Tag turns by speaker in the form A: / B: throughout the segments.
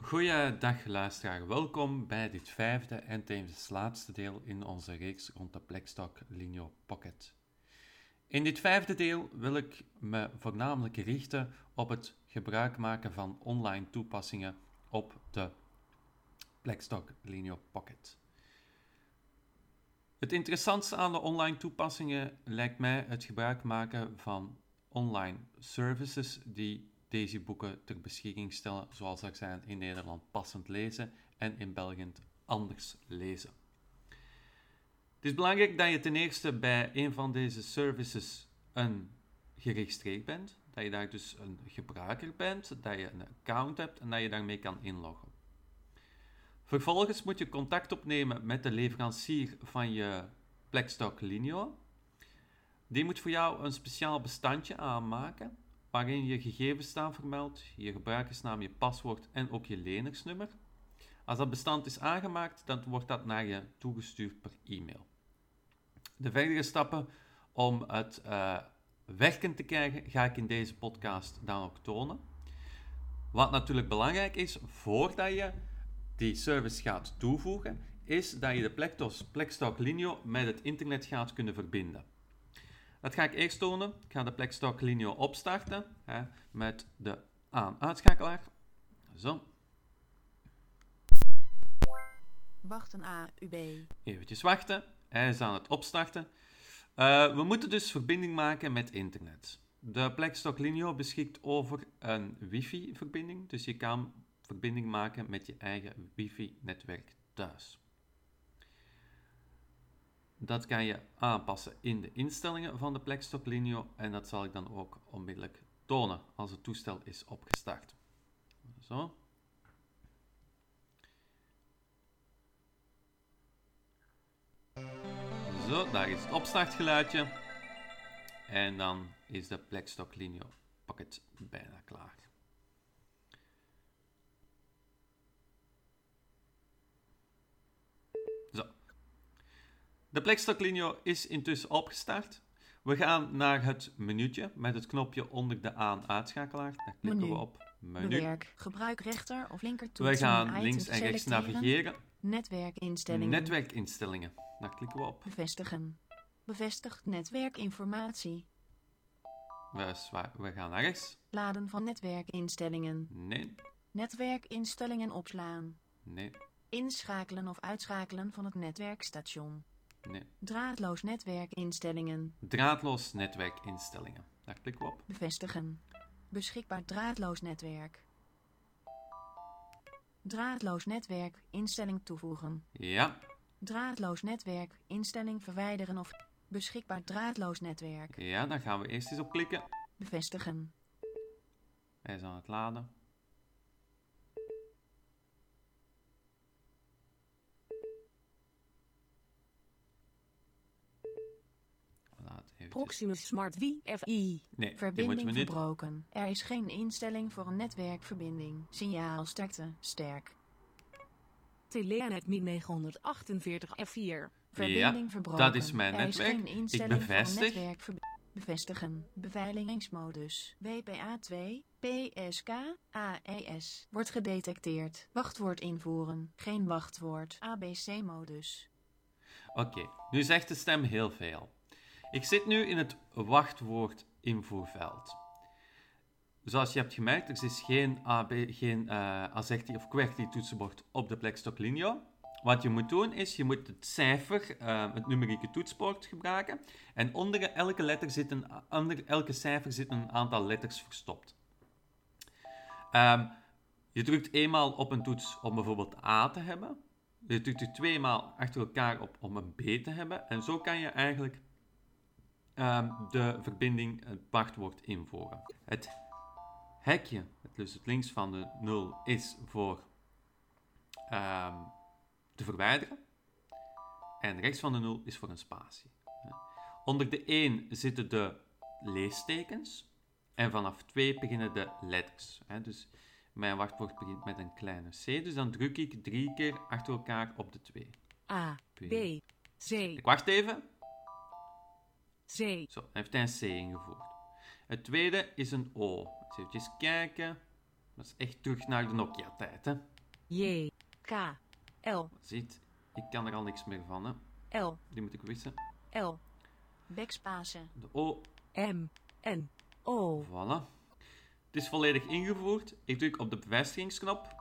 A: Goeiedag luisteraar, welkom bij dit vijfde en tevens laatste deel in onze reeks rond de Blackstock Linio Pocket. In dit vijfde deel wil ik me voornamelijk richten op het gebruik maken van online toepassingen op de Blackstock Linio Pocket. Het interessantste aan de online toepassingen lijkt mij het gebruik maken van online services die deze boeken ter beschikking stellen, zoals er zijn in Nederland passend lezen en in België anders lezen. Het is belangrijk dat je ten eerste bij een van deze services een geregistreerd bent, dat je daar dus een gebruiker bent, dat je een account hebt en dat je daarmee kan inloggen. Vervolgens moet je contact opnemen met de leverancier van je Blackstock Linio. Die moet voor jou een speciaal bestandje aanmaken waarin je gegevens staan vermeld, je gebruikersnaam, je paswoord en ook je lenersnummer. Als dat bestand is aangemaakt, dan wordt dat naar je toegestuurd per e-mail. De verdere stappen om het uh, werkend te krijgen, ga ik in deze podcast dan ook tonen. Wat natuurlijk belangrijk is, voordat je die service gaat toevoegen, is dat je de Plektos Plekstock Linio met het internet gaat kunnen verbinden. Dat ga ik eerst tonen. Ik ga de Plekstock Linio opstarten hè, met de aan-uitschakelaar. Zo.
B: Wachten AUB.
A: Eventjes wachten. Hij is aan het opstarten. Uh, we moeten dus verbinding maken met internet. De Plekstock Linio beschikt over een wifi-verbinding, dus je kan verbinding maken met je eigen wifi-netwerk thuis. Dat kan je aanpassen in de instellingen van de Blackstock Linio en dat zal ik dan ook onmiddellijk tonen als het toestel is opgestart. Zo. Zo, daar is het opstartgeluidje. En dan is de Blackstock Linio pakket bijna klaar. De Blackstock Linio is intussen opgestart. We gaan naar het menuutje met het knopje onder de aan-uitschakelaar. Daar klikken
B: Menu.
A: we op menu.
B: Bewerk. Gebruik rechter of linker toets
A: We
B: om
A: gaan
B: een
A: links
B: item
A: en
B: te
A: rechts
B: selecteren.
A: navigeren.
B: Netwerkinstellingen.
A: Netwerkinstellingen. Daar klikken we op.
B: Bevestigen. Bevestigd netwerkinformatie.
A: We, zwa- we gaan naar rechts.
B: Laden van netwerkinstellingen.
A: Nee,
B: Netwerkinstellingen opslaan.
A: nee,
B: Inschakelen of uitschakelen van het netwerkstation.
A: nee.
B: Draadloos netwerkinstellingen.
A: Draadloos netwerkinstellingen. Daar klikken we op.
B: Bevestigen. Beschikbaar draadloos netwerk. Draadloos netwerk instelling toevoegen.
A: Ja,
B: Draadloos netwerk, instelling verwijderen of beschikbaar draadloos netwerk
A: ja, daar gaan we eerst eens op klikken.
B: bevestigen.
A: Hij is aan het laden. Laat eventjes-
C: Proximus Smart WFI.
A: Nee, die moeten we
B: Verbinding
A: niet.
B: verbroken. Er is geen instelling voor een netwerkverbinding. Signaalsterkte sterk.
C: Telenet Mi 948 F4.
B: Verbinding
A: Ja,
B: verbroken.
A: dat is mijn
B: er
A: netwerk.
B: Is geen
A: Ik
B: instelling
A: bevestig.
B: Voor een netwerkverbi- bevestigen. Beveiligingsmodus. WPA2. PSK. AES. E Wordt gedetecteerd. Wachtwoord invoeren. Geen wachtwoord. ABC-modus.
A: Oké, nu zegt de stem heel veel. Ik zit nu in het wachtwoord invoerveld. Zoals je hebt gemerkt, er is dus geen, AB, geen eh AZERTY of QWERTY toetsenbord op de Blackstock Linio. Wat je moet doen is, je moet het cijfer, eh, het numerieke toetsenbord gebruiken. En onder elke, letter zit een, onder elke cijfer zit een aantal letters verstopt. Ehm, je drukt eenmaal op een toets om bijvoorbeeld A te hebben. Je drukt er twee maal achter elkaar op om een B te hebben. En zo kan je eigenlijk ehm, de verbinding, het wachtwoord invoeren. Het hekje, het- dus het links van de 0, is voor ehm, te verwijderen. En rechts van de 0 is voor een spatie. Onder de 1 zitten de leestekens. En vanaf 2 beginnen de letters. hè. Dus mijn wachtwoord begint met een kleine c. Dus dan druk ik drie keer achter elkaar op de 2.
C: A. B. C.
A: Ik wacht even.
C: C.
A: Zo, dan heeft hij een C ingevoerd. Het tweede is een O. Eens eventjes kijken. Dat is echt terug naar de Nokia-tijd, hè.
C: J, K, L,
A: Ziet, ik kan er al niks meer van, hè.
C: L,
A: Die moet ik wissen.
C: L,
B: Backspasen.
A: De O,
C: M, N, O,
A: voilà. Het is volledig ingevoerd. Ik druk op de bevestigingsknop.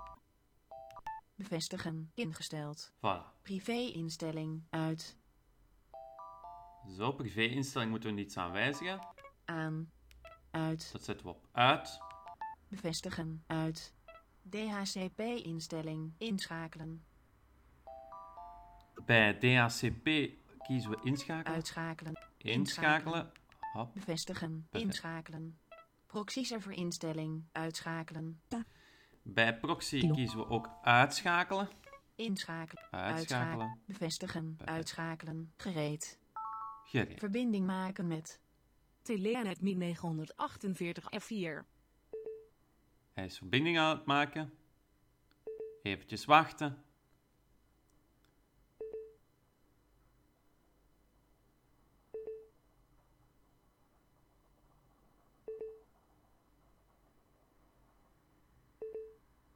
B: Bevestigen. Ingesteld.
A: Voilà.
B: Privé-instelling. Uit.
A: Zo, privé-instelling moeten we niets aan wijzigen.
B: Aan. Uit.
A: Dat zetten we op uit.
B: Bevestigen. Uit. DHCP-instelling. Inschakelen.
A: Bij DHCP kiezen we inschakelen.
B: Uitschakelen.
A: Inschakelen. Hop.
B: Bevestigen.
A: Perfect.
B: Inschakelen. Proxyserverinstelling. Uitschakelen.
A: Bij proxy
C: Kilo.
A: kiezen we ook uitschakelen.
B: Inschakelen.
A: Uitschakelen.
B: Bevestigen. Uitschakelen. Gereed.
A: Gereed.
B: Verbinding maken met.
C: Telenet Mi 948 F4.
A: Hij is verbinding aan het maken. Eventjes wachten.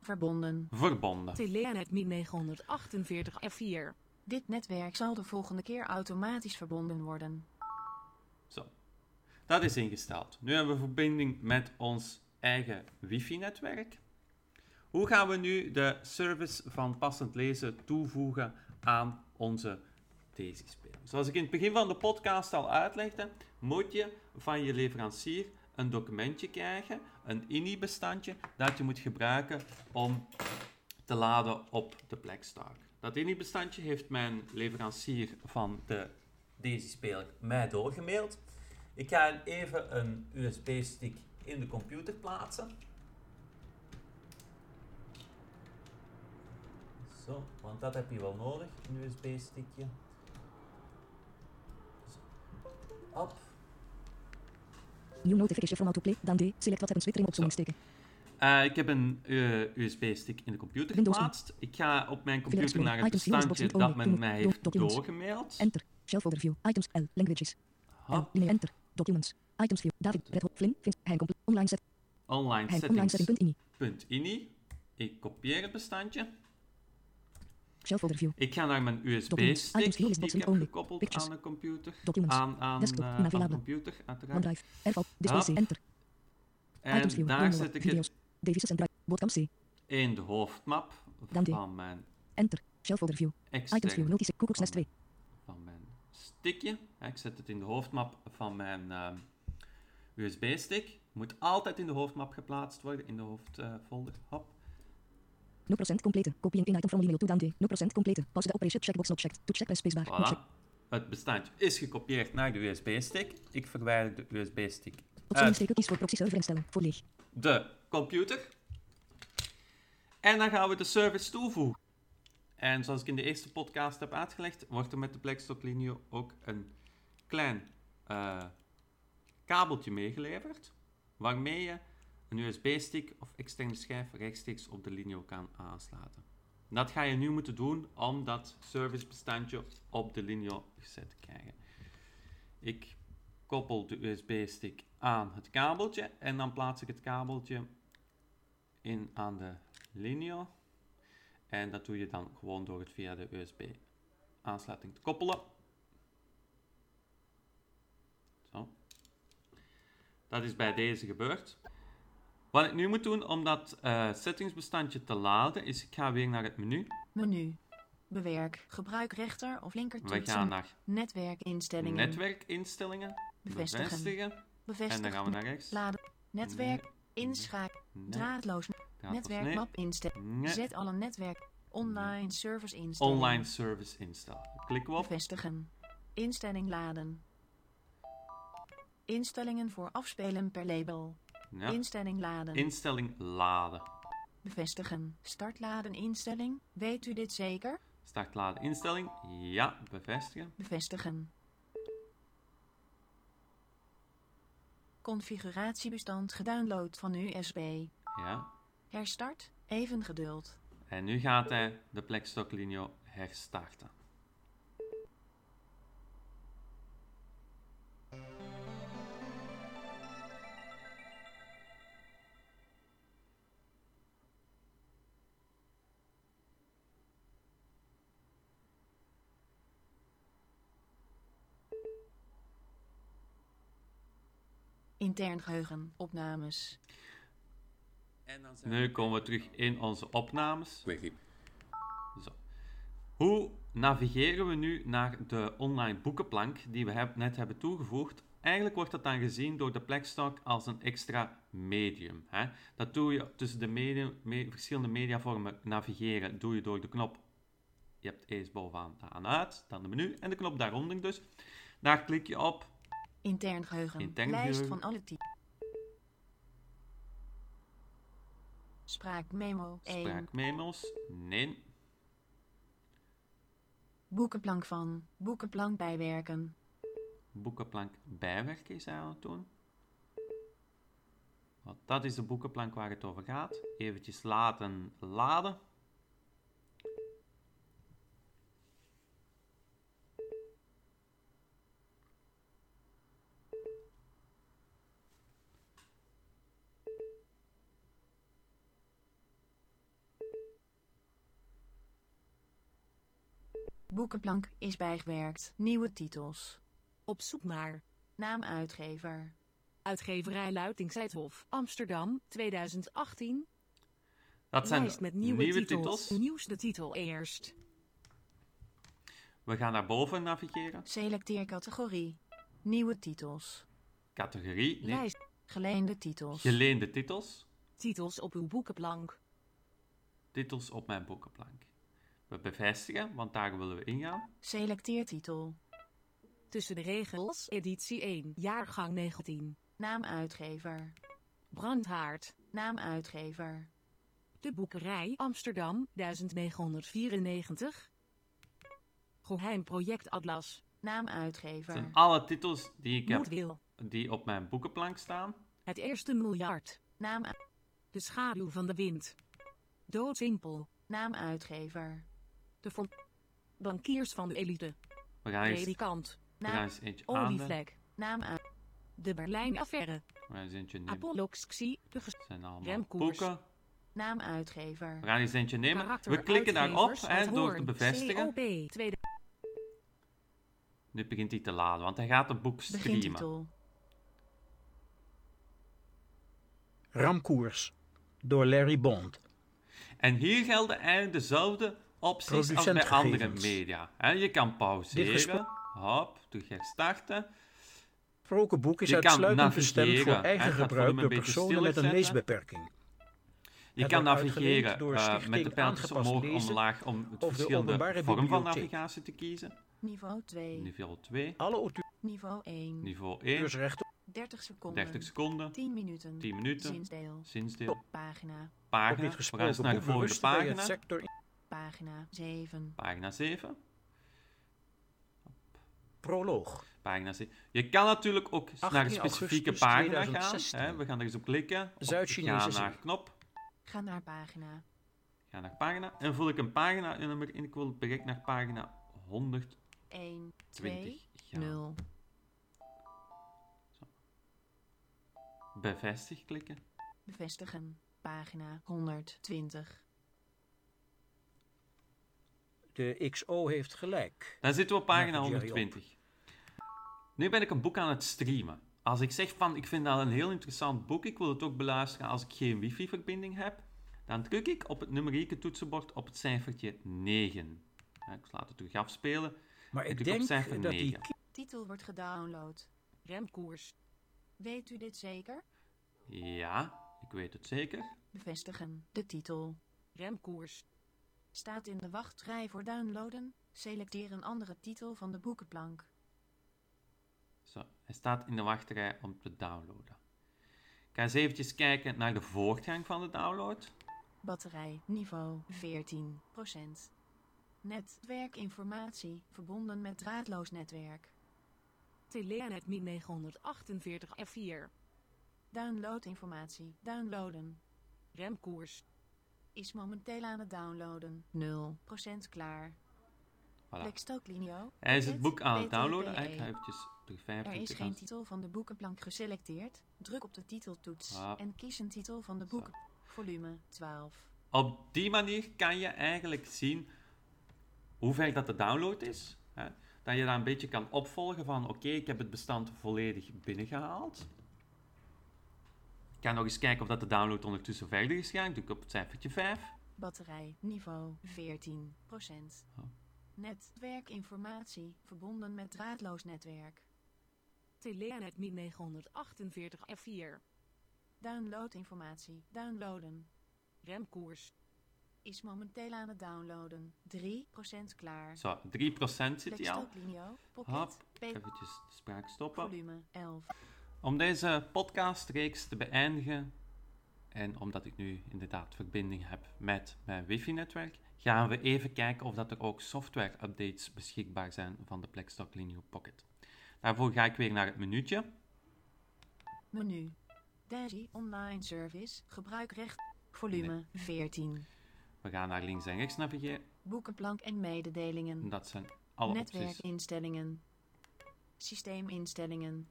B: Verbonden.
A: Verbonden.
C: Telenet Mi 948 F4.
B: Dit netwerk zal de volgende keer automatisch verbonden worden.
A: Zo. Dat is ingesteld. Nu hebben we verbinding met ons eigen wifi-netwerk. Hoe gaan we nu de service van passend lezen toevoegen aan onze Daisy-speler? Zoals ik in het begin van de podcast al uitlegde, moet je van je leverancier een documentje krijgen, een INI-bestandje, dat je moet gebruiken om te laden op de Blackstar. Dat INI-bestandje heeft mijn leverancier van de Daisy-speler mij doorgemaild. Ik ga even een USB-stick in de computer plaatsen. Zo, want dat heb je wel nodig, een USB-stickje. Zo. Hop.
D: New notification from autoplay. Dan D. Select wat hebben Twitter in opzomming steken.
A: Eh, ik heb een eh, USB-stick in de computer
D: Windows on.
A: geplaatst. Ik ga op mijn
D: Select
A: computer naar het
D: Items, Linux, box,
A: bestandje
D: niet
A: dat
D: only.
A: men
D: Doe-
A: mij
D: doe-
A: heeft
D: documents.
A: doorgemaild.
D: Enter. Shelf overview. Items. L. Languages. L.
A: Hop,
D: Linear. Enter. Documents. Items view. David. Red Hot. Flynn. Vindt. Hein. compl- Online set.
A: online
D: Hein. Online
A: settings.
D: setting.ini.
A: punt ini. Ik kopieer het bestandje.
D: Shelf overview.
A: Ik ga naar mijn
D: Documents,
A: USB-stick
D: items,
A: die ik
D: boxen
A: heb
D: only.
A: gekoppeld
D: Pictures.
A: aan de computer.
D: Documents.
A: Aan, aan,
D: Desktop,
A: eh, aan de
D: navigable.
A: computer, uiteraard.
D: OneDrive. AirFall. Display C.
A: Ah.
D: Enter.
A: En
D: items view.
A: daar
D: Download.
A: zet ik
D: Video's.
A: het
D: Devices en drive. Bootcamp C.
A: in de hoofdmap
D: Dan die.
A: van mijn
D: Enter. Shelf overview. Items view.
A: externe,
D: Notice. Koekoeksnest 2.
A: van mijn stickje. Hè, Ik zet het in de hoofdmap van mijn ehm, USB-stick. Moet altijd in de hoofdmap geplaatst worden, in de hoofdfolder. Eh, Hop.
D: 0% complete. Copying in item from email to Dan D. 0% complete. Pause the operation checkbox not checked. To check press spacebar. Not checked.
A: Voilà. Het bestandje is gekopieerd naar de USB-stick. Ik verwijder de USB-stick
D: Opzomming
A: uit
D: steken. Kies voor proxy server instellen. Voor leeg.
A: de computer. En dan gaan we de service toevoegen. En zoals ik in de eerste podcast heb uitgelegd, wordt er met de Blackstop Linio ook een klein eh, kabeltje meegeleverd. Waarmee je een USB-stick of externe schijf rechtstreeks op de Linio kan aansluiten. Dat ga je nu moeten doen om dat servicebestandje op de Linio gezet te krijgen. Ik koppel de USB-stick aan het kabeltje en dan plaats ik het kabeltje in aan de linio. En dat doe je dan gewoon door het via de USB-aansluiting te koppelen. Zo. Dat is bij deze gebeurd. Wat ik nu moet doen om dat eh, settingsbestandje te laden, is ik ga weer naar het menu.
B: Menu. Bewerk. Gebruik rechter of linker
A: We
B: toetsen.
A: gaan naar
B: Netwerkinstellingen.
A: netwerkinstellingen,
B: Bevestigen.
A: bevestigen. En
B: Bevestigd.
A: dan gaan we naar rechts.
B: Laden. Netwerk. Inschakel.
A: Nee,
B: Draadloos.
A: draad was nee.
B: Netwerkmap instellen.
A: Nee.
B: Zet al een netwerk. Online service instellen.
A: Online service instellen. Klikken we op.
B: Bevestigen. Instelling laden. Instellingen voor afspelen per label.
A: Ja.
B: Instelling laden.
A: Instelling laden.
B: Bevestigen. Start laden instelling. Weet u dit zeker?
A: Start laden instelling. Ja, bevestigen.
B: Bevestigen. Configuratiebestand gedownload van USB.
A: Ja.
B: Herstart. Even geduld.
A: En nu gaat hij de Plexstock Linio herstarten.
B: Intern geheugen. Opnames.
E: En dan zijn
A: Nu komen we terug in onze opnames.
E: Quickly.
A: Zo. Hoe navigeren we nu naar de online boekenplank die we heb- net hebben toegevoegd? Eigenlijk wordt dat dan gezien door de Plextalk als een extra medium. Hè? Dat doe je tussen de medium, me- verschillende mediavormen navigeren. Doe je door de knop. Je hebt eerst bovenaan de aan-uit, dan de menu en de knop daaronder dus. Daar klik je op.
B: Intern geheugen.
A: Intern
B: Lijst
A: geheugen.
B: van alle typen. Spraakmemo 1.
A: Spraakmemo's. Nee.
B: Boekenplank van. Boekenplank bijwerken.
A: boekenplank bijwerken is hij aan het doen. Want dat is de boekenplank waar het over gaat. Eventjes laten laden.
B: Boekenplank is bijgewerkt. Nieuwe titels.
C: Op zoek naar.
B: Naam uitgever.
C: Uitgeverij Luiting Zuidhof, Amsterdam, 2018.
A: Dat zijn
C: Lijst met nieuwe, titels. Nieuws de titel eerst.
A: We gaan naar boven navigeren.
B: Selecteer categorie. Nieuwe titels.
A: Categorie. Nee.
C: Lijst.
B: Geleende titels.
A: Geleende titels.
C: Titels op uw boekenplank.
A: Titels op mijn boekenplank. We bevestigen, want daar willen we ingaan.
B: Selecteer titel.
C: Tussen de regels, editie 1, jaargang 19.
B: Naam uitgever.
C: Brandhaard.
B: Naam uitgever.
C: De Boekerij Amsterdam 1994. Geheim Project Atlas.
B: Naam
A: Het zijn
B: uitgever.
A: alle titels die ik heb
C: Moedwil.
A: die op mijn boekenplank staan.
C: Het eerste miljard.
B: Naam, u-
C: De schaduw van de wind. Doodsimpel.
B: naam uitgever.
C: De van... Bankiers van de elite.
A: We gaan eens, we
C: Predikant.
A: gaan
B: Naam,
A: eens eentje aandoen.
C: Olievlek.
B: naam uit.
C: De Berlijnaffaire.
A: We gaan eens eentje nemen.
C: Apolloxie. De ges-
A: Het zijn allemaal
C: Remkoers.
A: boeken.
B: Naam uitgever.
A: We gaan eens eentje nemen.
C: karakter-
A: We klikken daarop
C: uitgevers
A: hè,
C: uit
A: door te
C: Hoorn.
A: bevestigen.
C: COP. Tweede.
A: Nu begint hij te laden, want hij gaat een boek streamen.
B: Begintitel.
F: Ramkoers door Larry Bond.
A: En hier gelden eigenlijk dezelfde opties als bij andere
F: Producentgegevens.
A: media. Hè, je kan
F: Dit
A: pauzeren.
F: gespro-
A: Hop, doe herstarten.
F: Gesproken boek is
A: Je kan
F: uitsluitend bestemd voor
A: navigeren, hè,
F: eigen
A: het gaat
F: gebruik
A: volume
F: door
A: een beetje
F: personen met een
A: stilzetten.
F: leesbeperking.
A: Je
F: Het
A: kan
F: wordt uitgeleend
A: navigeren
F: door
A: eh, met de
F: Stichting
A: pijltjes
F: Aangepast
A: omhoog
F: Lezen
A: omlaag om het
F: de
A: verschillende vorm
F: Openbare
A: van
F: Bibliotheek.
A: navigatie te kiezen.
B: Niveau 2.
A: Niveau 2,
F: Alle auteurs
B: Niveau 1.
A: niveau 1,
F: recht
B: 30 seconden.
A: 30 seconden,
B: 10 minuten.
A: 10 minuten,
B: Zinsdeel.
A: zinsdeel,
B: Pagina.
F: op
A: pagina.
F: dit
A: We gaan eens
F: gesproken
A: naar de
F: boek
A: volgende
F: berust bij het
A: pagina,
F: sector
B: Pagina 7.
A: pagina 7.
F: proloog.
A: Pagina 7. Je kan natuurlijk ook naar een
F: 18
A: specifieke
F: augustus
A: pagina gaan.
F: 2016.
A: Hè. We gaan er eens op klikken. Op
F: Zuid-Chinese
A: Ga naar
F: Zee.
A: knop.
B: Ga naar pagina.
A: Ga naar pagina. En vul ik een pagina-nummer in. Ik wil direct naar pagina 120
B: 1, 2,
A: gaan.
B: 0.
A: Bevestig klikken.
B: Bevestigen. Pagina 120.
F: De XO heeft gelijk.
A: Dan zitten we op pagina
F: Jerry op.
A: 120. Nu ben ik een boek aan het streamen. Als ik zeg van, ik vind dat een heel interessant boek, ik wil het ook beluisteren als ik geen wifi-verbinding heb, dan druk ik op het numerieke toetsenbord op het cijfertje 9. Ja, Ik laat het terug afspelen.
F: Maar
A: Ik
F: ik
A: druk op
F: denk
A: cijfer
F: dat die
A: negen.
B: Titel wordt gedownload.
C: Remkoers.
B: Weet u dit zeker?
A: Ja, ik weet het zeker.
B: Bevestigen. De titel.
C: Remkoers.
B: Staat in de wachtrij voor downloaden. Selecteer een andere titel van de boekenplank.
A: Zo, hij staat in de wachtrij om te downloaden. Ik ga eens eventjes kijken naar de voortgang van de download.
B: Batterij niveau 14%. Netwerkinformatie verbonden met draadloos netwerk.
C: Telenet Mi 948 F4.
B: Downloadinformatie. Downloaden.
C: Remkoers.
B: Is momenteel aan het downloaden. 0% klaar.
A: Voilà.
B: Lekstoklinio.
A: Hij is het boek aan het
B: BTP.
A: downloaden. Ah, Ik ga eventjes terug
B: Er is
A: 25
B: geen
A: aan.
B: titel van de boekenplank geselecteerd. Druk op de titeltoets
A: Ah.
B: en kies een titel van de boeken. Volume 12.
A: Op die manier kan je eigenlijk zien hoe ver dat de download is. Hè? Dat je daar een beetje kan opvolgen van oké, ik heb het bestand volledig binnengehaald. Ik ga nog eens kijken of dat de download ondertussen verder is gegaan. Doe ik op het cijfertje 5.
B: Batterij, niveau 14%. Netwerkinformatie, verbonden met draadloos netwerk.
C: Telenet Mi 948 F4.
B: Downloadinformatie, downloaden.
C: Remkoers.
B: Is momenteel aan het downloaden. 3% klaar.
A: Zo, 3% zit hij al.
B: Tekst ook linio, pocket,
A: Hop,
B: p-
A: eventjes de spraak stoppen.
B: volume 11.
A: Om deze podcastreeks te beëindigen, en omdat ik nu inderdaad verbinding heb met mijn wifi-netwerk, gaan we even kijken of dat er ook software-updates beschikbaar zijn van de Blackstock Linio Pocket. Daarvoor ga ik weer naar het menuutje.
B: Menu. Daisy Online Service, gebruikrecht, volume 14.
A: We gaan naar links en rechts navigeren.
B: Boekenplank en mededelingen.
A: Dat zijn alle opties.
B: Netwerkinstellingen. Systeeminstellingen.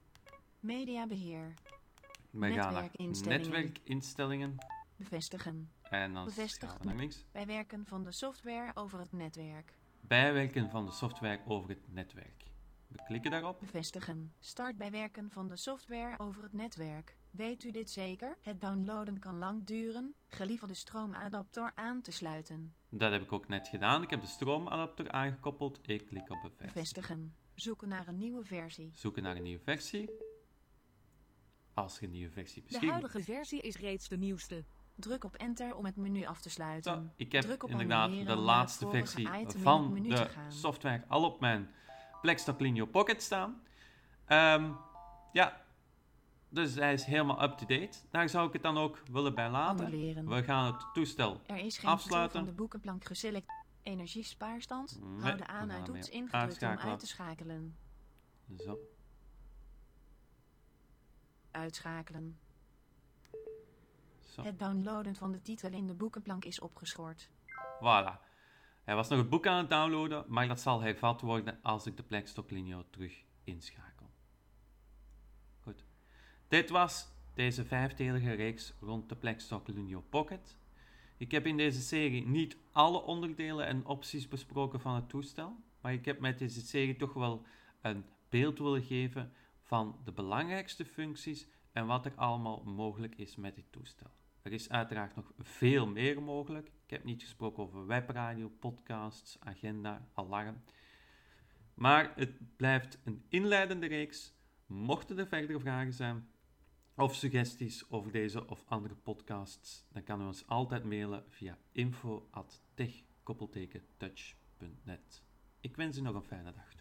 B: Mediabeheer.
A: We gaan naar
B: netwerkinstellingen.
A: netwerkinstellingen.
B: Bevestigen.
A: En dan
B: Bevestigd.
A: gaan we naar links.
B: Bij werken van de software over het netwerk.
A: Bijwerken van de software over het netwerk. We klikken daarop.
B: Bevestigen. Start bij werken van de software over het netwerk. Weet u dit zeker? Het downloaden kan lang duren. Gelieve de stroomadapter aan te sluiten.
A: Dat heb ik ook net gedaan. Ik heb de stroomadapter aangekoppeld. Ik klik op bevestigen.
B: Bevestigen. Zoeken naar een nieuwe versie.
A: Zoeken naar een nieuwe versie. Als er een nieuwe versie
C: De
A: beschikbaar
C: huidige versie is reeds de nieuwste.
B: Druk op enter om het menu af te
A: is.
B: sluiten.
A: Zo, Ik heb
B: Druk op
A: inderdaad
B: annuleren
A: de
B: om naar
A: laatste
B: het vorige
A: versie
B: item in het
A: van
B: menu
A: de
B: te gaan.
A: software al op mijn Blackstock Linio Pocket staan. Ehm, ja, dus hij is helemaal up-to-date. Daar zou ik het dan ook willen bij laten.
B: Annuleren.
A: We gaan het toestel
B: Er is
A: Afsluiten. Hm.
B: geen afsluiten. van de boekenplank geselect. Energiespaarstand.
A: Nee,
B: Hou de
A: we
B: aan
A: gaan
B: uit toets
A: weer
B: ingedrukt om
A: uitschakelen.
B: uit te schakelen.
A: Zo.
B: Uitschakelen.
A: Zo.
B: Het downloaden van de titel in de boekenplank is opgeschort.
A: Voilà. Hij was nog het boek aan het downloaden, maar dat zal hervat worden als ik de plekstoklinio terug inschakel. Goed. Dit was deze vijfdelige reeks rond de plekstoklinio Pocket. Ik heb in deze serie niet alle onderdelen en opties besproken van het toestel, maar ik heb met deze serie toch wel een beeld willen geven van de belangrijkste functies en wat er allemaal mogelijk is met dit toestel. Er is uiteraard nog veel meer mogelijk. Ik heb niet gesproken over webradio, podcasts, agenda, alarm. Maar het blijft een inleidende reeks. Mochten er verdere vragen zijn of suggesties over deze of andere podcasts, dan kan u ons altijd mailen via info@tech-touch.net. Ik wens u nog een fijne dag.